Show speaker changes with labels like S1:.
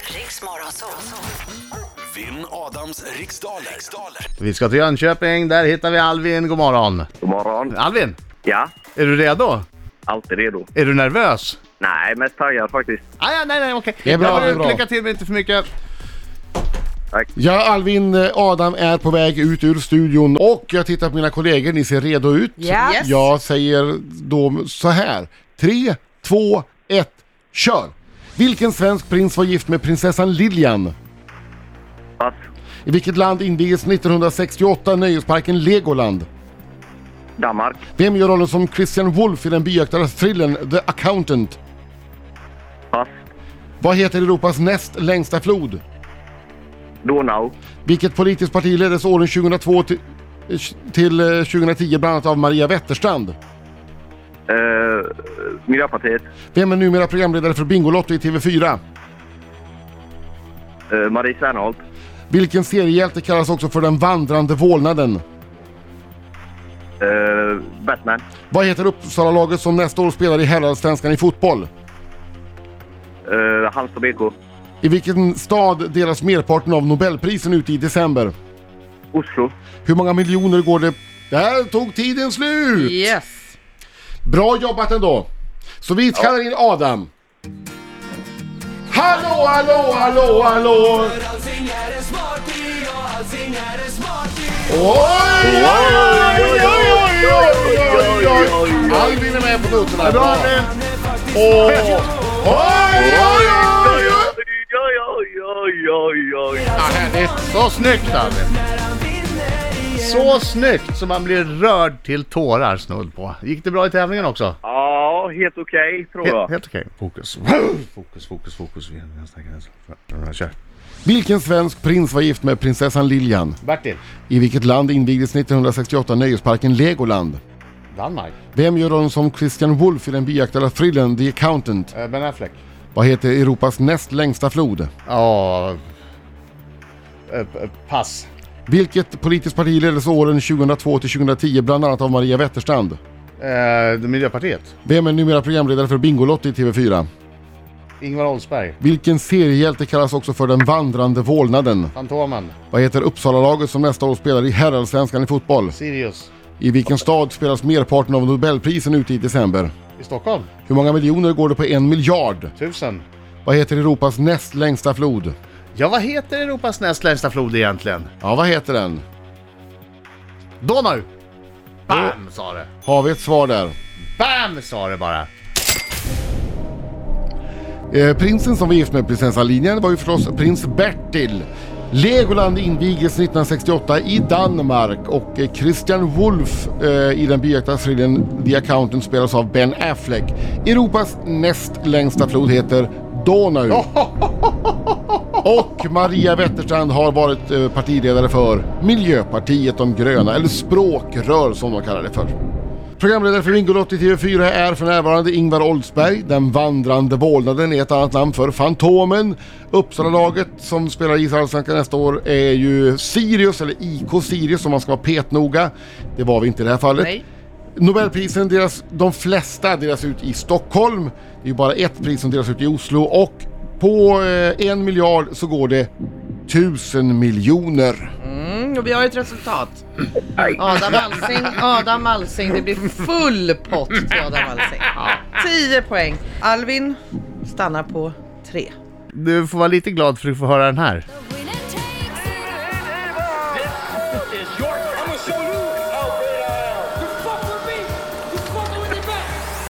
S1: Riks Morgonzoo.
S2: Vinn Adams riksdaler. riksdaler.
S3: Vi ska till Jönköping, där hittar vi Alvin. God morgon.
S4: God morgon.
S3: Alvin,
S4: Ja,
S3: är du redo?
S4: alltid redo.
S3: Är du nervös?
S4: Nej, mest taggad faktiskt.
S3: Ah, ja, nej, nej, okej.
S5: Det är bra,
S3: Ja, men
S5: det är bra.
S3: Lycka till men inte för mycket.
S5: Ja, Alvin eh, Adam är på väg ut ur studion och jag tittar på mina kollegor. Ni ser redo ut.
S6: Ja. Yes.
S5: Jag säger då så här. Tre, två, ett, kör! Vilken svensk prins var gift med prinsessan Lilian?
S4: Pass.
S5: I vilket land invigdes 1968 nöjesparken Legoland?
S4: Danmark.
S5: Vem gör rollen som Christian Wolff i den byaktare-thrillern The Accountant?
S4: Pass.
S5: Vad heter Europas näst längsta flod?
S4: Donau.
S5: Vilket politiskt parti leddes åren 2002 till, eh, till eh, 2010 bland annat av Maria Wetterstrand?
S4: Eh, Miljöpartiet.
S5: Vem är numera programledare för Bingolotto i TV4?
S4: Eh, Marie Serneholt.
S5: Vilken seriehjälte kallas också för den vandrande vålnaden?
S4: Eh, Batman.
S5: Vad heter Uppsala-laget som nästa år spelar i Herrallsvenskan i fotboll?
S4: Eh, Halmstad BK.
S5: I vilken stad delas merparten av Nobelprisen ut i december?
S4: Oslo.
S5: Hur många miljoner går det... Där tog tiden slut!
S6: Yes.
S5: Bra jobbat ändå! Så vi kallar in Adam. Hallå, hallå, hallå, hallå! Oj, oj, oj, oj, oj, oj, oj, oj, oj. Albin är med på noterna. Bra Albin! Åh! Oj, oj, oj, oj!
S4: oj, oj, oj, oj, oj.
S3: Ja, härligt. Så snyggt Alvin. Så snyggt så man blir rörd till tårar snudd på. Gick det bra i tävlingen också?
S4: Ja, helt okej tror
S3: Helt,
S4: jag.
S3: helt okej. Fokus. Fokus, fokus, fokus. Vi har nästan gränsen. Kör.
S5: Vilken svensk prins var gift med prinsessan Lilian?
S3: Bertil.
S5: I vilket land invigdes 1968 nöjesparken Legoland?
S3: Danmark.
S5: Vem gör rollen som Christian Wolff i den biaktuella thrillern The Accountant?
S3: Eh, Ben Affleck.
S5: Vad heter Europas näst längsta flod?
S3: Ja. eh, p- Pass.
S5: Vilket politiskt parti leddes åren 2002 till 2010 bland annat av Maria Wetterstrand?
S3: Eh, Miljöpartiet.
S5: Vem är numera programledare för Bingolotto i TV4?
S3: Ingvar Oldsberg.
S5: Vilken seriehjälte kallas också för den vandrande vålnaden?
S3: Fantomen.
S5: Vad heter Uppsala-laget som nästa år spelar i herrallsvenskan i fotboll?
S3: Sirius.
S5: I vilken stad spelas merparten av Nobelprisen ut i december?
S3: I Stockholm.
S5: Hur många miljoner går det på en miljard?
S3: Tusen.
S5: Vad heter Europas näst längsta flod?
S3: Ja, vad heter Europas näst längsta flod egentligen?
S5: Ja, vad heter den?
S3: Donau! Bam sa det!
S5: Har vi ett svar där?
S3: Bam sa det bara!
S5: Eh, prinsen som var gift med prinsessan Lilian var ju förstås prins Bertil. Legoland invigdes 1968 i Danmark och eh, Christian Wolff eh, i den byakta thrillern The Accountant spelas av Ben Affleck. Europas näst längsta flod heter Donau. Och Maria Wetterstrand har varit eh, partiledare för Miljöpartiet de gröna, eller språkrör som de kallar det för. Programledare för Bingolotto i TV4 är för närvarande Ingvar Oldsberg. Den vandrande vålnaden är ett annat namn för Fantomen. Uppsala-laget som spelar i Allsvenskan nästa år är ju Sirius, eller IK Sirius om man ska vara petnoga. Det var vi inte i det här fallet.
S6: Nej.
S5: Nobelprisen, delas, de flesta delas ut i Stockholm. Det är ju bara ett pris som delas ut i Oslo och på eh, en miljard så går det tusen miljoner.
S6: Mm, och vi har ett resultat. Adam Alsing, Adam Alsing. Det blir full pott till Adam Alsing. 10 poäng. Alvin stannar på 3.
S3: Du får vara lite glad för att du får höra den här.
S7: Winner takes it all.
S2: This is your